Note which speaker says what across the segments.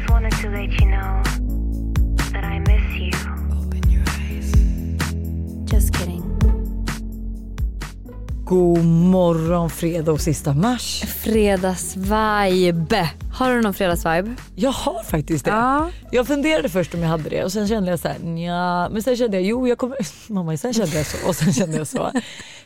Speaker 1: let you know that I miss you. Just kidding.
Speaker 2: God morgon fredag och sista mars.
Speaker 3: Fredagsvibe. Har du någon fredagsvibe?
Speaker 2: Jag har faktiskt det. Jag funderade först om jag hade det och sen kände jag så här, nja. Men sen kände jag, jo jag kommer, mamma sen kände jag så och sen kände jag så.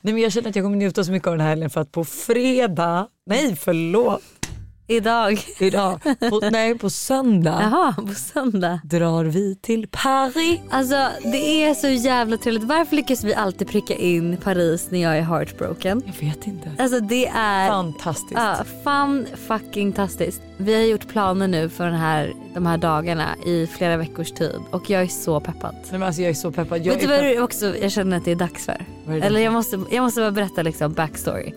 Speaker 2: Nej men jag känner att jag kommer njuta så mycket av den här helgen för att på fredag, nej förlåt,
Speaker 3: Idag.
Speaker 2: idag, på, nej på söndag
Speaker 3: Jaha, på söndag.
Speaker 2: drar vi till Paris.
Speaker 3: Alltså det är så jävla trevligt. Varför lyckas vi alltid pricka in Paris när jag är heartbroken?
Speaker 2: Jag vet inte.
Speaker 3: Alltså det är...
Speaker 2: Fantastiskt.
Speaker 3: Ja, fan fucking tastiskt. Vi har gjort planer nu för den här, de här dagarna i flera veckors tid och jag är så peppad.
Speaker 2: Nej, men alltså, jag är så peppad. Jag
Speaker 3: Vet du
Speaker 2: är
Speaker 3: vad
Speaker 2: pepp-
Speaker 3: det är också jag känner att det är dags för?
Speaker 2: Vad är det
Speaker 3: Eller jag måste, jag måste bara berätta liksom backstory.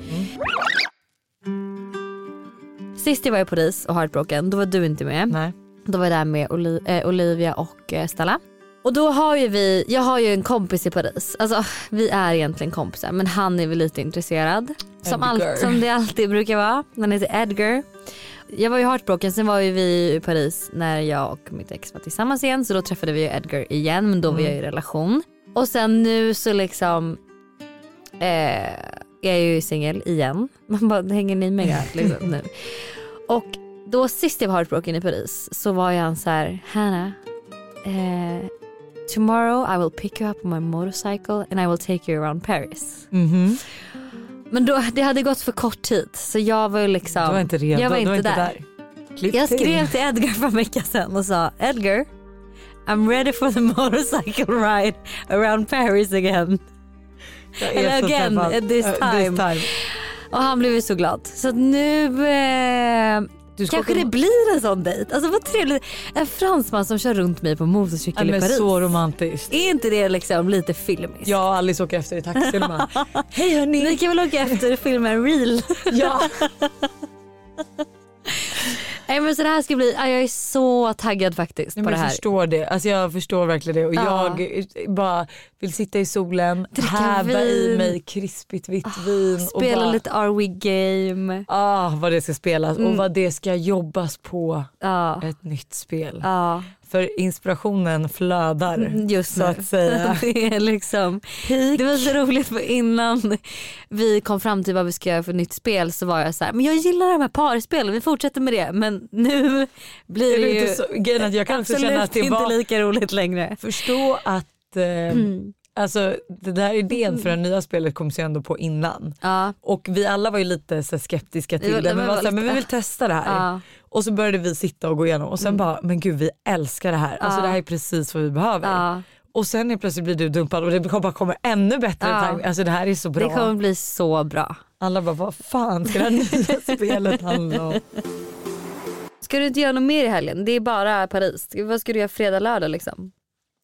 Speaker 3: Sist jag var i Paris och Heartbroken, då var du inte med.
Speaker 2: Nej.
Speaker 3: Då var jag där med Oli- eh, Olivia och eh, Stella. Och då har ju vi, jag har ju en kompis i Paris. Alltså vi är egentligen kompisar men han är väl lite intresserad. Som,
Speaker 2: Edgar.
Speaker 3: allt, som det alltid brukar vara. Han heter Edgar. Jag var ju heartbroken, sen var ju vi i Paris när jag och mitt ex var tillsammans igen. Så då träffade vi ju Edgar igen men då var jag i relation. Och sen nu så liksom eh, jag är ju singel igen. Man bara, hänger ni med liksom, nu? Och då sist jag var heartbroken i Paris så var ju han så här, Hannah, eh, tomorrow I will pick you up on my motorcycle and I will take you around Paris.
Speaker 2: Mhm.
Speaker 3: Men då, det hade gått för kort tid så jag var ju liksom,
Speaker 2: Du var inte redo,
Speaker 3: jag var
Speaker 2: du
Speaker 3: inte,
Speaker 2: var
Speaker 3: där.
Speaker 2: Klipp
Speaker 3: Jag
Speaker 2: till.
Speaker 3: skrev till Edgar för en vecka sedan och sa Edgar, I'm ready for the motorcycle ride around Paris again.
Speaker 2: Jag är
Speaker 3: Eller
Speaker 2: så
Speaker 3: again,
Speaker 2: peppad.
Speaker 3: this
Speaker 2: Eh,
Speaker 3: time. Och han blev ju så glad. Så att nu eh,
Speaker 2: Du ska
Speaker 3: kanske
Speaker 2: åka-
Speaker 3: det blir en sån dejt. Alltså vad trevligt. En fransman som kör runt mig på motorcykel
Speaker 2: Nej,
Speaker 3: i
Speaker 2: men
Speaker 3: Paris.
Speaker 2: så romantiskt.
Speaker 3: Är inte det liksom lite filmiskt?
Speaker 2: Jag och Alice åker efter i taxin och bara, hej hörni.
Speaker 3: Ni kan väl åka efter och filma en reel?
Speaker 2: Ja.
Speaker 3: Nej men så det här ska bli, ah, jag är så taggad faktiskt
Speaker 2: Nej,
Speaker 3: på
Speaker 2: men
Speaker 3: det
Speaker 2: jag
Speaker 3: här.
Speaker 2: förstår det. Alltså, jag förstår verkligen det. Och
Speaker 3: Ja.
Speaker 2: Jag bara vill sitta i solen,
Speaker 3: Dricka
Speaker 2: häva i
Speaker 3: vin. Ah,
Speaker 2: mig krispigt vitt vin.
Speaker 3: Spela
Speaker 2: och bara,
Speaker 3: lite Mm. Are We Game.
Speaker 2: Ah, vad det ska spelas och vad det ska jobbas på.
Speaker 3: Ja,
Speaker 2: Ett nytt spel.
Speaker 3: ja Mm,
Speaker 2: För inspirationen flödar.
Speaker 3: just
Speaker 2: så
Speaker 3: nu.
Speaker 2: att säga.
Speaker 3: det är liksom Det var så roligt för innan vi kom fram till vad vi ska göra för nytt spel så var jag så här, men jag gillar de här parspelen, vi fortsätter med det. Men nu blir
Speaker 2: Är
Speaker 3: det
Speaker 2: det
Speaker 3: ju
Speaker 2: inte så, grejen är att jag kan också känna att
Speaker 3: absolut
Speaker 2: det
Speaker 3: inte
Speaker 2: var...
Speaker 3: lika roligt längre.
Speaker 2: Förstå att eh,
Speaker 3: Mm.
Speaker 2: alltså, den där idén för det nya spelet kom sig ändå på innan.
Speaker 3: Ja,
Speaker 2: Och vi alla var ju lite så här skeptiska till
Speaker 3: var-
Speaker 2: det.
Speaker 3: det
Speaker 2: Men,
Speaker 3: var
Speaker 2: var så här, men vi
Speaker 3: lite-
Speaker 2: vill testa det här.
Speaker 3: Ja. Mm.
Speaker 2: Och så började vi sitta och gå igenom och sen bara, men gud vi älskar det här. Alltså
Speaker 3: Ja.
Speaker 2: det här är precis vad vi behöver.
Speaker 3: ja.
Speaker 2: Och sen är plötsligt blir du dumpad och det kommer- bara kommer ännu bättre
Speaker 3: Ja.
Speaker 2: timing. Alltså det här är så bra.
Speaker 3: Det kommer bli så bra.
Speaker 2: Alla bara, vad fan ska det här nya spelet handla om?
Speaker 3: Ska du inte göra något mer i helgen? Det är bara Paris. Vad ska du göra fredag, lördag liksom?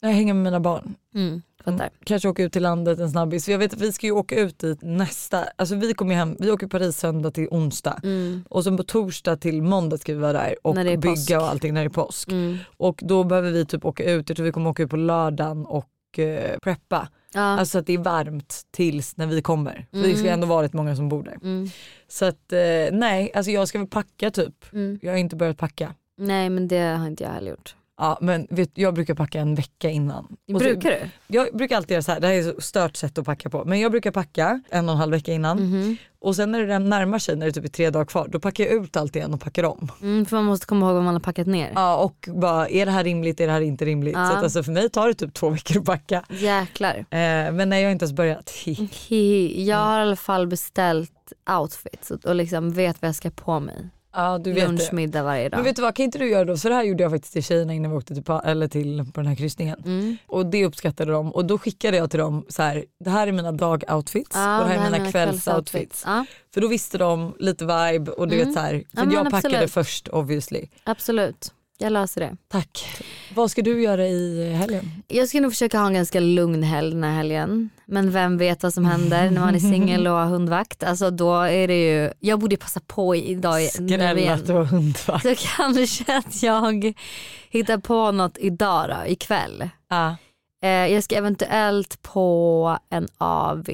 Speaker 2: Jag hänger med mina barn.
Speaker 3: Mm, fattar.
Speaker 2: Kanske åka ut till landet en snabbis. För jag vet att vi ska ju åka ut dit nästa, alltså vi kommer ju hem, vi åker Paris söndag till onsdag.
Speaker 3: Mm,
Speaker 2: Och sen på torsdag till måndag ska vi vara där och
Speaker 3: När det är
Speaker 2: bygga
Speaker 3: påsk.
Speaker 2: och allting när det är påsk.
Speaker 3: mm.
Speaker 2: Och då behöver vi typ åka ut, jag tror vi kommer åka ut på lördagen och eh, preppa.
Speaker 3: Ja.
Speaker 2: Alltså att det är varmt tills när vi kommer. För det ska ändå vara rätt många som bor där.
Speaker 3: Mm,
Speaker 2: Så att eh, nej, alltså jag ska väl packa typ.
Speaker 3: mm.
Speaker 2: Jag har inte börjat packa.
Speaker 3: Nej men det har inte jag heller gjort.
Speaker 2: Ja men vet, jag brukar packa en vecka innan. Och så-
Speaker 3: Brukar du?
Speaker 2: jag brukar alltid göra så här, det här är ett stört sätt att packa på. Men jag brukar packa en och en halv vecka innan.
Speaker 3: Mhm.
Speaker 2: Och sen när det redan närmar sig, när det typ är tre dagar kvar, då packar jag ut allt igen och packar om.
Speaker 3: Mm, för man måste komma ihåg vad man har packat ner.
Speaker 2: Ja och bara är det här rimligt, är det här inte rimligt?
Speaker 3: Ja.
Speaker 2: Så att alltså för mig tar det typ två veckor att packa.
Speaker 3: Jäklar.
Speaker 2: Eh, men nej jag har inte ens börjat.
Speaker 3: Hihi. Jag har i alla fall beställt outfits och, och liksom vet vad jag ska på mig.
Speaker 2: ja du vet
Speaker 3: Lunch,
Speaker 2: det.
Speaker 3: middag varje dag.
Speaker 2: Men vet du vad, kan inte du göra då? Så det här gjorde jag faktiskt till tjejerna innan vi åkte till, Pa- eller till på den här kryssningen.
Speaker 3: mm.
Speaker 2: Och det uppskattade de och då skickade jag till dem så här, det här är mina dagoutfits
Speaker 3: Ja,
Speaker 2: och Ah, det här är
Speaker 3: är
Speaker 2: mina kvällsoutfits.
Speaker 3: Ja,
Speaker 2: För då visste de lite vibe och du
Speaker 3: Mm.
Speaker 2: vet så här,
Speaker 3: Ja,
Speaker 2: för
Speaker 3: men
Speaker 2: jag packade
Speaker 3: absolut.
Speaker 2: först obviously.
Speaker 3: absolut. Jag löser det.
Speaker 2: Tack. Vad ska du göra i helgen?
Speaker 3: Jag ska nog försöka ha en ganska lugn helg den här helgen. Men vem vet vad som händer när man är singel och har hundvakt. Alltså då är det ju, jag borde passa på idag. i- när vi är-
Speaker 2: Skrällat och hundvakt.
Speaker 3: Så kanske att jag hittar på något idag då, ikväll.
Speaker 2: Ja.
Speaker 3: Eh, jag ska eventuellt på en AV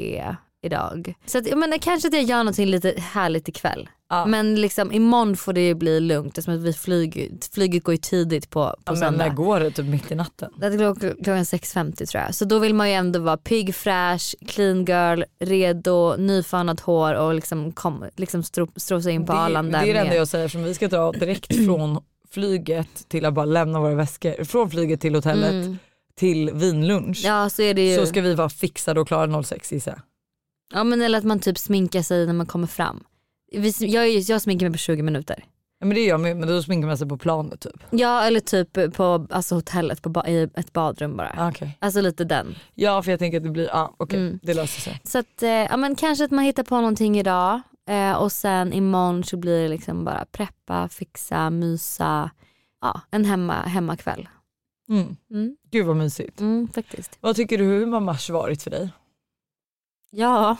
Speaker 3: idag. Så att, jag menar, kanske att jag gör någonting lite härligt ikväll.
Speaker 2: Ja.
Speaker 3: Men liksom imorgon får det ju bli lugnt eftersom att vi flyger, flyget går ju tidigt på, på
Speaker 2: Ja, men
Speaker 3: söndag.
Speaker 2: när går det? Typ mitt i natten?
Speaker 3: Det är klock- klockan 6.50 tror jag. Så då vill man ju ändå vara pigg, fräsch, clean girl, redo, nyfönat hår och liksom, kom, liksom stro, strosa in på Arlanda.
Speaker 2: det, det är det
Speaker 3: med-
Speaker 2: enda jag säger som vi ska dra direkt från flyget till att bara lämna våra väskor. Från flyget till hotellet
Speaker 3: Mm.
Speaker 2: till vinlunch.
Speaker 3: Ja så är det ju.
Speaker 2: Så ska vi vara fixade och klara 06 gissar jag.
Speaker 3: Ja men eller att man typ sminkar sig när man kommer fram. Vi, jag, är ju- jag sminkar mig på 20 minuter.
Speaker 2: Ja, men det gör man ju, men då sminkar man sig på planet typ.
Speaker 3: Ja eller typ på alltså, hotellet på ba, i ett badrum bara.
Speaker 2: Ah, okej.
Speaker 3: Alltså lite den.
Speaker 2: Ja för jag tänker att det blir, ah, okej
Speaker 3: Mm.
Speaker 2: det löser sig.
Speaker 3: Så att eh, ja, men kanske att man hittar på någonting idag eh, och sen imorgon så blir det liksom bara preppa, fixa, mysa. Ja, en hemma, hemmakväll.
Speaker 2: Mm.
Speaker 3: Mm,
Speaker 2: Gud vad mysigt.
Speaker 3: mm, faktiskt.
Speaker 2: Vad tycker du hur har mars varit för dig?
Speaker 3: Ja,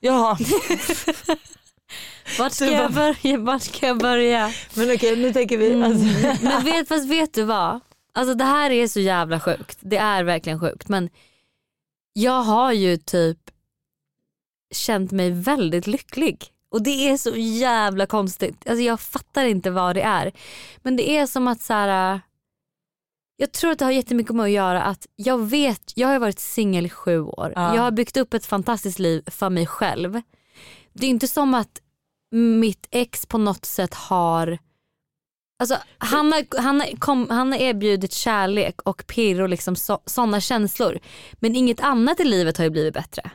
Speaker 2: Jaha
Speaker 3: vart ska,
Speaker 2: Du
Speaker 3: jag börja, vart ska jag börja?
Speaker 2: men okej nu tänker vi, alltså,
Speaker 3: Mm. Men vet, fast vet du vad? Alltså det här är så jävla sjukt. Det är verkligen sjukt. Men jag har ju typ känt mig väldigt lycklig. Och det är så jävla konstigt. Alltså jag fattar inte vad det är. Men det är som att så här. äh, Jag tror att det har jättemycket med att göra att jag vet, jag har ju varit singel i sju år.
Speaker 2: Ja.
Speaker 3: Jag har byggt upp ett fantastiskt liv för mig själv. Det är inte som att mitt ex på något sätt har Alltså, han, har, han, har kom, han har erbjudit kärlek och pirr och liksom sådana känslor. Men inget annat i livet har ju blivit bättre.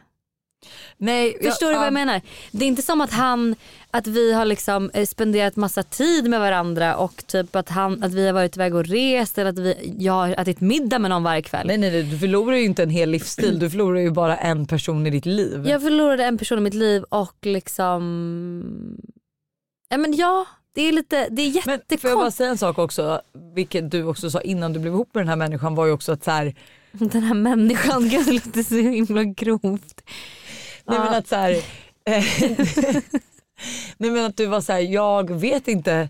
Speaker 2: nej, jag-
Speaker 3: Förstår du vad
Speaker 2: ja.
Speaker 3: jag menar? Det är inte som att han, att vi har liksom eh, spenderat massa tid med varandra och typ att, han, att vi har varit iväg och rest eller att vi, jag har ätit middag med någon varje kväll.
Speaker 2: Nej, nej nej du förlorar ju inte en hel livsstil, du förlorar ju bara en person i ditt liv.
Speaker 3: Jag förlorade en person i mitt liv och liksom... Ja men ja, det är lite, det är
Speaker 2: Men får jag bara
Speaker 3: jättekonstigt.
Speaker 2: säga en sak också, vilket du också sa innan du blev ihop med den här människan var ju också att så här,
Speaker 3: Den här människan, gud det låter så himla grovt.
Speaker 2: nej men
Speaker 3: Ja.
Speaker 2: att så här, eh, nej men att du var så här, jag vet inte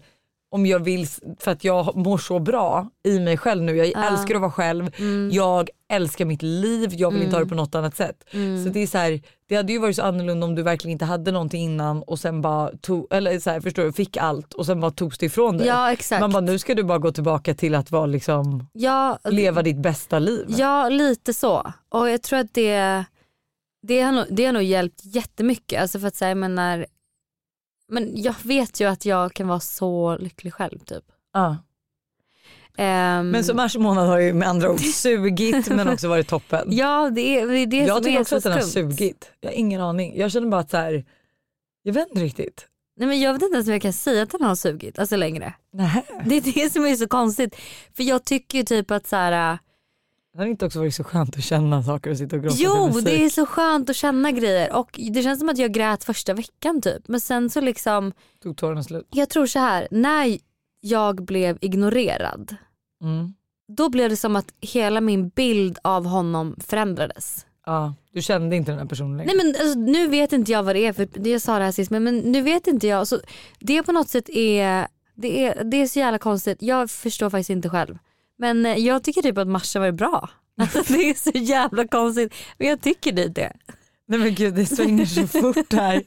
Speaker 2: om jag vill s- för att jag mår så bra i mig själv nu. Jag
Speaker 3: Ah.
Speaker 2: älskar att vara själv,
Speaker 3: Mm.
Speaker 2: jag älskar mitt liv, jag vill inte ha det på något annat sätt.
Speaker 3: Mm.
Speaker 2: Så det är så här, det hade ju varit så annorlunda om du verkligen inte hade någonting innan och sen bara tog, eller så här, förstår du, fick allt och sen bara togs det ifrån dig.
Speaker 3: Ja exakt.
Speaker 2: Man bara nu ska du bara gå tillbaka till att vara liksom
Speaker 3: ja,
Speaker 2: leva ditt bästa liv.
Speaker 3: ja lite så. Och jag tror att det, det, har, nog, det har nog hjälpt jättemycket. Alltså för att säga, jag menar, men jag vet ju att jag kan vara så lycklig själv typ.
Speaker 2: Ja.
Speaker 3: Ehm,
Speaker 2: Ah. Men så mars månad har ju med andra ord sugit men också varit toppen.
Speaker 3: Ja det är det, är det
Speaker 2: jag
Speaker 3: som
Speaker 2: tycker
Speaker 3: är
Speaker 2: också
Speaker 3: så
Speaker 2: att den har
Speaker 3: skumt.
Speaker 2: sugit. Jag har ingen aning. Jag känner bara att så här, jag vet inte riktigt.
Speaker 3: Nej, men jag vet inte ens om jag kan säga att den har sugit alltså längre.
Speaker 2: Nej.
Speaker 3: Det är det som är så konstigt. För jag tycker ju typ att så här.
Speaker 2: Det har inte också varit så skönt att känna saker och sitta och gråta till
Speaker 3: Jo
Speaker 2: musik.
Speaker 3: det är så skönt att känna grejer och det känns som att jag grät första veckan typ. Men sen så liksom
Speaker 2: Tog tårarna slut.
Speaker 3: Jag tror så här, när jag blev ignorerad
Speaker 2: Mm.
Speaker 3: då blev det som att hela min bild av honom förändrades.
Speaker 2: Ja. Du kände inte den här personen längre.
Speaker 3: Nej men alltså, nu vet inte jag vad det är för det- jag sa det här sist men, men nu vet inte jag. Så det på något sätt är det, är det är så jävla konstigt. Jag förstår faktiskt inte själv. Men eh, jag tycker typ att Marsha var bra. Alltså, det är så jävla konstigt men jag tycker det. det.
Speaker 2: Nej men gud det svänger så fort här.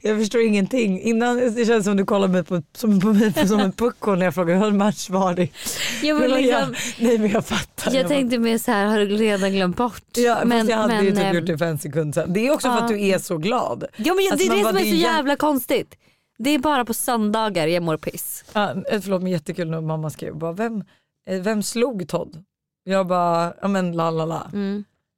Speaker 2: Jag förstår ingenting. Innan det känns som du kollar mig på, som, på mig som en pucko när jag frågar hur har match varit.
Speaker 3: Jag, vill
Speaker 2: Men
Speaker 3: liksom,
Speaker 2: jag, nej men jag fattar.
Speaker 3: jag tänkte mer så här, har du redan glömt bort?
Speaker 2: Ja, men, jag hade ju typ
Speaker 3: ehm,
Speaker 2: gjort det för en sekund sedan. Det är också för
Speaker 3: ja.
Speaker 2: att du är så glad.
Speaker 3: Ja men jag,
Speaker 2: Alltså,
Speaker 3: det
Speaker 2: man
Speaker 3: är det
Speaker 2: bara,
Speaker 3: som är
Speaker 2: det
Speaker 3: så
Speaker 2: är jä-
Speaker 3: jävla konstigt. Det är bara på söndagar jag mår piss.
Speaker 2: Ja, eh, förlåt men jättekul när mamma skrev bara, vem, eh, vem slog Todd? Jag bara, ja men la la la.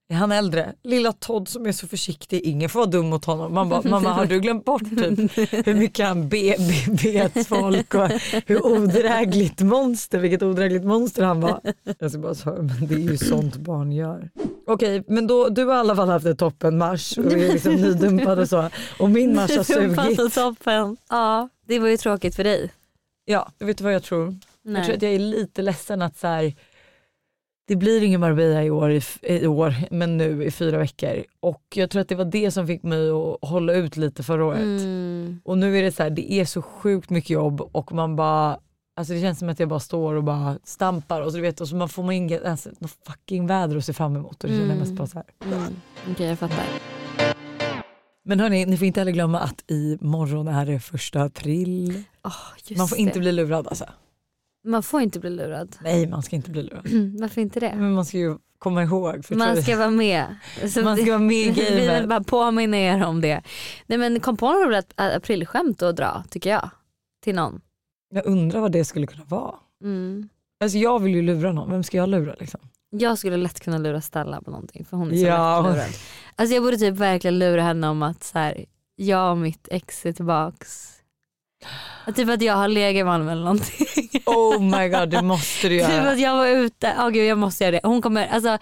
Speaker 2: Är han äldre? Lilla Todd som är så försiktig, ingen får vara dum mot honom. Man bara, mamma har du glömt bort typ, hur mycket han be- be- bet folk och hur odrägligt monster, vilket odrägligt monster han var. Jag ska bara säga, men det är ju sånt barn gör. Okej, men då, du har i alla fall haft en toppen mars och är liksom nydumpad och så. Och min mars har sugit.
Speaker 3: toppen. Ja, det var ju tråkigt för dig.
Speaker 2: Ja, vet du vad jag tror? Jag tror
Speaker 3: Nej.
Speaker 2: att jag är lite ledsen att så här, det blir ingen Marbella i år, i, f- i år, men nu i fyra veckor. Och jag tror att det var det som fick mig att hålla ut lite förra året.
Speaker 3: Mm.
Speaker 2: Och nu är det så här, det är så sjukt mycket jobb och man bara, alltså det känns som att jag bara står och bara stampar och så, du vet, och så man får man inget ens något fucking väder att se fram emot. Och det känner jag mest bara så här.
Speaker 3: Mm. Okej jag fattar.
Speaker 2: Men hörni, ni får inte heller glömma att imorgon är det första april.
Speaker 3: Åh, just
Speaker 2: Man får inte
Speaker 3: det.
Speaker 2: bli lurad alltså.
Speaker 3: man får inte bli lurad.
Speaker 2: Nej, man ska inte bli lurad.
Speaker 3: Varför inte det?
Speaker 2: Men man ska ju komma ihåg. För
Speaker 3: Man
Speaker 2: tror-
Speaker 3: ska vara med. Så
Speaker 2: man ska vara med i
Speaker 3: vi vill
Speaker 2: gamet.
Speaker 3: bara påminna er om det. Nej men kom på något roligt a- aprilskämt att dra tycker jag. Till någon.
Speaker 2: Jag undrar vad det skulle kunna vara.
Speaker 3: Mm.
Speaker 2: Alltså jag vill ju lura någon, vem ska jag lura liksom?
Speaker 3: Jag skulle lätt kunna lura Stella på någonting för hon är så
Speaker 2: Ja.
Speaker 3: lätt lurad. Alltså jag borde typ verkligen lura henne om att så här, jag och mitt ex är tillbaks. Att typ att jag har legat i Malmö eller någonting.
Speaker 2: Oh my god, det måste du
Speaker 3: Typ
Speaker 2: göra.
Speaker 3: att jag var ute, åh gud jag måste göra det. Hon kommer, alltså,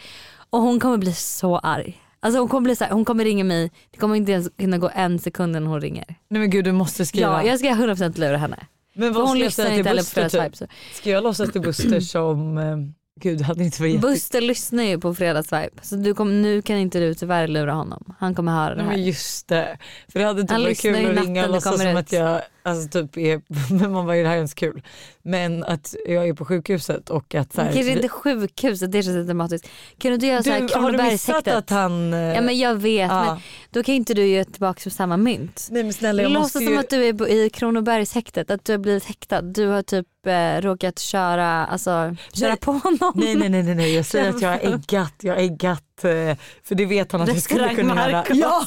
Speaker 3: och hon kommer bli så arg. Alltså hon kommer, bli så här, hon kommer ringa mig, det kommer inte ens kunna gå en sekund innan hon ringer.
Speaker 2: Nej men gud du måste skriva.
Speaker 3: Ja, jag ska 100% lura henne.
Speaker 2: men
Speaker 3: För
Speaker 2: vad
Speaker 3: hon
Speaker 2: ska jag
Speaker 3: lyssnar
Speaker 2: säga
Speaker 3: inte
Speaker 2: till
Speaker 3: heller på
Speaker 2: Buster
Speaker 3: Fredags
Speaker 2: typ?
Speaker 3: Vibe. så-
Speaker 2: Ska jag låtsas till Buster som, eh, gud det hade inte varit jätte...
Speaker 3: Buster lyssnar ju på Fredags Vibe. Så du kom, nu kan inte du tyvärr lura honom. Han kommer höra det
Speaker 2: Nej
Speaker 3: här.
Speaker 2: men just det. För det hade inte
Speaker 3: Han
Speaker 2: varit
Speaker 3: lyssnar
Speaker 2: kul
Speaker 3: ju
Speaker 2: att
Speaker 3: natten
Speaker 2: ringa och
Speaker 3: det
Speaker 2: låtsas
Speaker 3: kommer
Speaker 2: som
Speaker 3: ut.
Speaker 2: att jag, alltså typ är, men man var ju det här är ens kul. Men att jag är på sjukhuset och att så här,
Speaker 3: Kanske inte sjukhuset, det känns inte dramatiskt. Kan du inte göra
Speaker 2: du,
Speaker 3: såhär
Speaker 2: har du missat
Speaker 3: Kronobergshäktet?
Speaker 2: att han... eh,
Speaker 3: Ja men jag vet
Speaker 2: ja.
Speaker 3: men då kan inte du ge tillbaka på samma mynt.
Speaker 2: Nej men snälla jag måste
Speaker 3: Låtsas
Speaker 2: ju...
Speaker 3: som att du är på- i Kronobergshäktet, att du har blivit häktad. Du har typ eh, råkat köra, alltså, köra på någon.
Speaker 2: Nej, nej, nej, nej, nej. jag säger att jag har äggat, jag har äggat, eh, för det vet han att jag skulle
Speaker 3: Restaurang
Speaker 2: kunna göra.
Speaker 3: Marcos.
Speaker 2: Ja!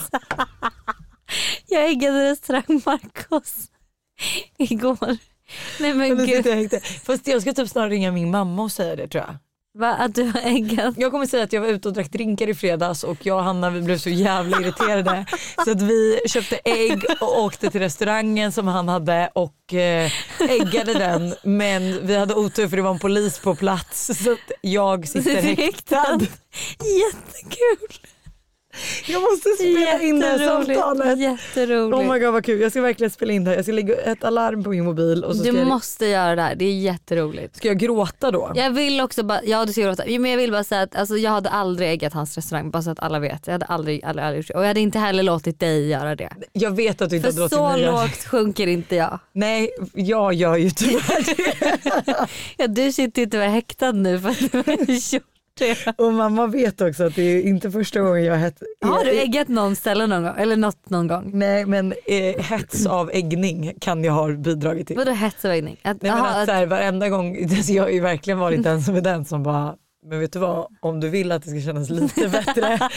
Speaker 3: Jag äggade restaurang Marcos igår. Nej men
Speaker 2: Men nu
Speaker 3: gud,
Speaker 2: sitter jag häktad. Fast jag ska typ snarare ringa min mamma och säga det tror jag.
Speaker 3: va, att du har äggat.
Speaker 2: Jag kommer säga att jag var ute och drack drinkar i fredags och jag och Hanna vi blev så jävla irriterade så att vi köpte ägg och åkte till restaurangen som han hade och eh, äggade den men vi hade otur för det var en polis på plats så att jag sitter häktad.
Speaker 3: Jättekul.
Speaker 2: Jag måste spela in det här
Speaker 3: Jätteroligt.
Speaker 2: samtalet.
Speaker 3: Jätteroligt.
Speaker 2: Oh my god vad kul, jag ska verkligen spela in det här. Jag ska lägga ett alarm på min mobil och så ska,
Speaker 3: du
Speaker 2: jag,
Speaker 3: måste göra det här, det är jätteroligt.
Speaker 2: ska jag gråta då?
Speaker 3: Jag vill också bara, ja du ska gråta, Jo, men jag vill bara säga att alltså, jag hade aldrig äggat hans restaurang bara så att alla vet. Jag hade aldrig, aldrig, aldrig gjort det. Och jag hade inte heller låtit dig göra det.
Speaker 2: Jag vet att du inte
Speaker 3: För
Speaker 2: har dragit
Speaker 3: så
Speaker 2: in nya-
Speaker 3: lågt sjunker inte jag.
Speaker 2: Nej, jag gör ju tyvärr det.
Speaker 3: Ja, du sitter ju tyvärr häktad nu för att du har gjort det.
Speaker 2: Och mamma vet också att det är inte första gången jag hett...
Speaker 3: Har du
Speaker 2: eh,
Speaker 3: äggat någon ställe någon gång? Eller något någon gång?
Speaker 2: Nej men eh, hets av äggning kan jag ha bidragit till.
Speaker 3: Vadå hets och äggning? Att,
Speaker 2: Nej, men
Speaker 3: aha,
Speaker 2: att,
Speaker 3: att-
Speaker 2: så här, varenda gång, alltså, jag har ju verkligen varit den som är den som bara men vet du vad, om du vill att det ska kännas lite bättre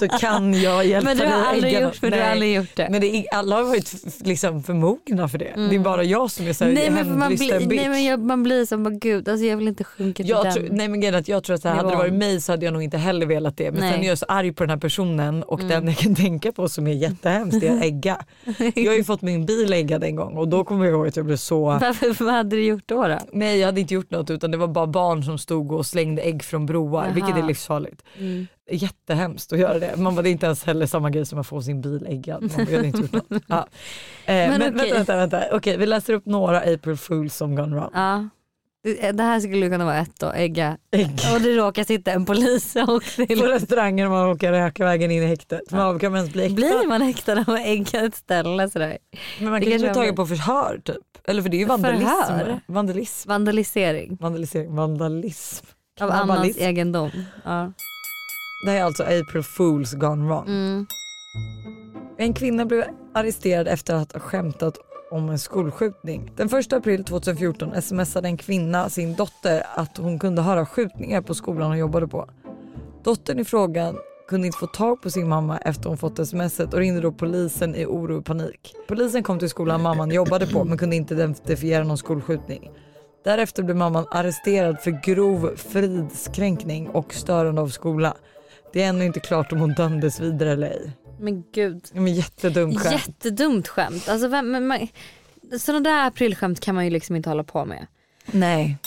Speaker 2: så kan jag hjälpa
Speaker 3: men du
Speaker 2: dig
Speaker 3: har
Speaker 2: att
Speaker 3: aldrig
Speaker 2: ägga
Speaker 3: gjort, för
Speaker 2: något.
Speaker 3: du har
Speaker 2: Nej.
Speaker 3: aldrig gjort det.
Speaker 2: Men det är, alla har varit f- liksom för mogna för det. Det är bara jag som är såhär
Speaker 3: Mm. nej, men för man,
Speaker 2: hämndlysten
Speaker 3: blir,
Speaker 2: bitch.
Speaker 3: nej men jag, man blir som, bara, gud alltså jag vill inte sjunka till
Speaker 2: jag
Speaker 3: den.
Speaker 2: tror- nej men grejen är att jag tror att så här, hade det varit
Speaker 3: nivån.
Speaker 2: mig så hade jag nog inte heller velat det. Men
Speaker 3: Nej. Mm.
Speaker 2: sen är jag så arg på den här personen och den jag kan tänka på som är jättehemskt det är att ägga. Jag har ju fått min bil äggad en gång och då kommer jag ihåg att jag blev så
Speaker 3: Varför, vad hade du gjort då? då?
Speaker 2: Nej jag hade inte gjort något utan det var bara barn som stod och slängde ägg från broar
Speaker 3: Jaha.
Speaker 2: vilket är livsfarligt.
Speaker 3: Mm.
Speaker 2: Jättehemskt att göra det. Man bara, det är inte ens heller samma grej som att få sin bil äggad. Man bara, jag hade inte gjort något. Ja. Eh, men
Speaker 3: Men
Speaker 2: vänta,
Speaker 3: okej.
Speaker 2: vänta, vänta. Okej, vi läser upp några April Fools som gone wrong.
Speaker 3: Ja. Det det här skulle ju kunna vara ett då, ägga.
Speaker 2: Ägg.
Speaker 3: Och det råkar sitta en polis och det
Speaker 2: På
Speaker 3: är-
Speaker 2: restauranger om man råkar röka vägen in i häktet. Man kan man ens bli äggad?
Speaker 3: Blir man häktad av att ägga ett ställe sådär?
Speaker 2: Men man
Speaker 3: Det
Speaker 2: kan ju
Speaker 3: kanske
Speaker 2: bli
Speaker 3: man
Speaker 2: tagen
Speaker 3: blir.
Speaker 2: på förhör typ. Eller för det är ju
Speaker 3: Förhör?
Speaker 2: vandalism. Vandalism.
Speaker 3: Vandalisering
Speaker 2: Vandalisering. Vandalism.
Speaker 3: av annans
Speaker 2: Vandalism.
Speaker 3: egendom. Ja.
Speaker 2: Det här är alltså April Fools gone wrong.
Speaker 3: Mm.
Speaker 2: En kvinna blev arresterad efter att ha skämtat om en skolskjutning. Den 1 april 2014 smsade en kvinna sin dotter att hon kunde höra skjutningar på skolan hon jobbade på. Dottern i frågan kunde inte få tag på sin mamma efter hon fått smset och ringde då polisen i oro och panik. Polisen kom till skolan mamman jobbade på men kunde inte identifiera någon skolskjutning. Därefter blev mamman arresterad för grov fridskränkning och störande av skola. Det är ännu inte klart om hon dömdes vidare eller ej.
Speaker 3: Men gud.
Speaker 2: Ja, Men jättedumt skämt.
Speaker 3: Jättedumt skämt. Alltså, vem, men man, sådana där aprilskämt kan man ju liksom inte hålla på med.
Speaker 2: Nej.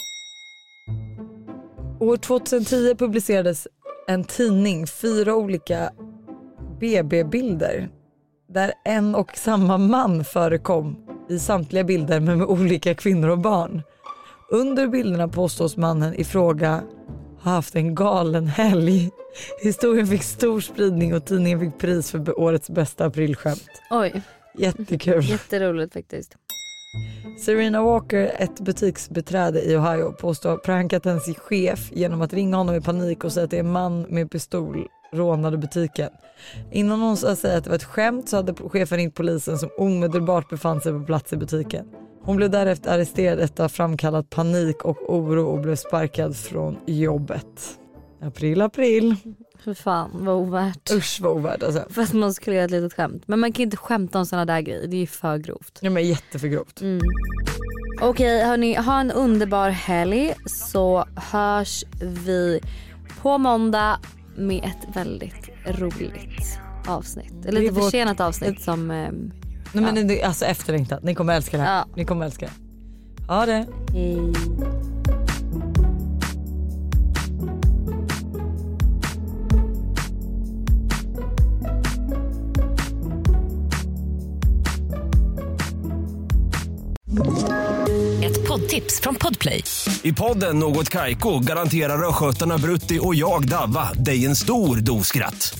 Speaker 2: År 2010 publicerades en tidning fyra olika BB-bilder där en och samma man förekom i samtliga bilder men med olika kvinnor och barn. Under bilderna påstås mannen i fråga ha haft en galen helg. Historien fick stor spridning och tidningen fick pris för årets bästa aprilskämt.
Speaker 3: Oj,
Speaker 2: Jättekul.
Speaker 3: jätteroligt faktiskt.
Speaker 2: Serena Walker, ett butiksbeträde i Ohio, påstår ha prankat hennes chef genom att ringa honom i panik och säga att det är en man med pistol rånade butiken. Innan hon sa säga att det var ett skämt så hade chefen ringt polisen som omedelbart befann sig på plats i butiken. Hon blev därefter arresterad efter att ha framkallat panik och oro och blev sparkad från jobbet. April, april.
Speaker 3: För fan vad ovärt.
Speaker 2: Usch vad ovärt alltså.
Speaker 3: Fast man skulle göra ett litet skämt. Men man kan inte skämta om sådana där grejer. Det är ju för grovt.
Speaker 2: Ja, men jätteför grovt.
Speaker 3: Mm. Okej hörni, ha en underbar helg så hörs vi på måndag med ett väldigt roligt avsnitt. Eller
Speaker 2: Det är
Speaker 3: lite
Speaker 2: vårt-
Speaker 3: försenat avsnitt som... ehm,
Speaker 2: Nej, men det, alltså efterlängtat. Ni kommer älska det här.
Speaker 3: Ja.
Speaker 2: Ni kommer älska det. Ha det.
Speaker 3: hej.
Speaker 4: Ett poddtips från Podplay.
Speaker 5: I podden Något Kaiko garanterar östgötarna Brutti och jag, Davva, dig en stor dos skratt.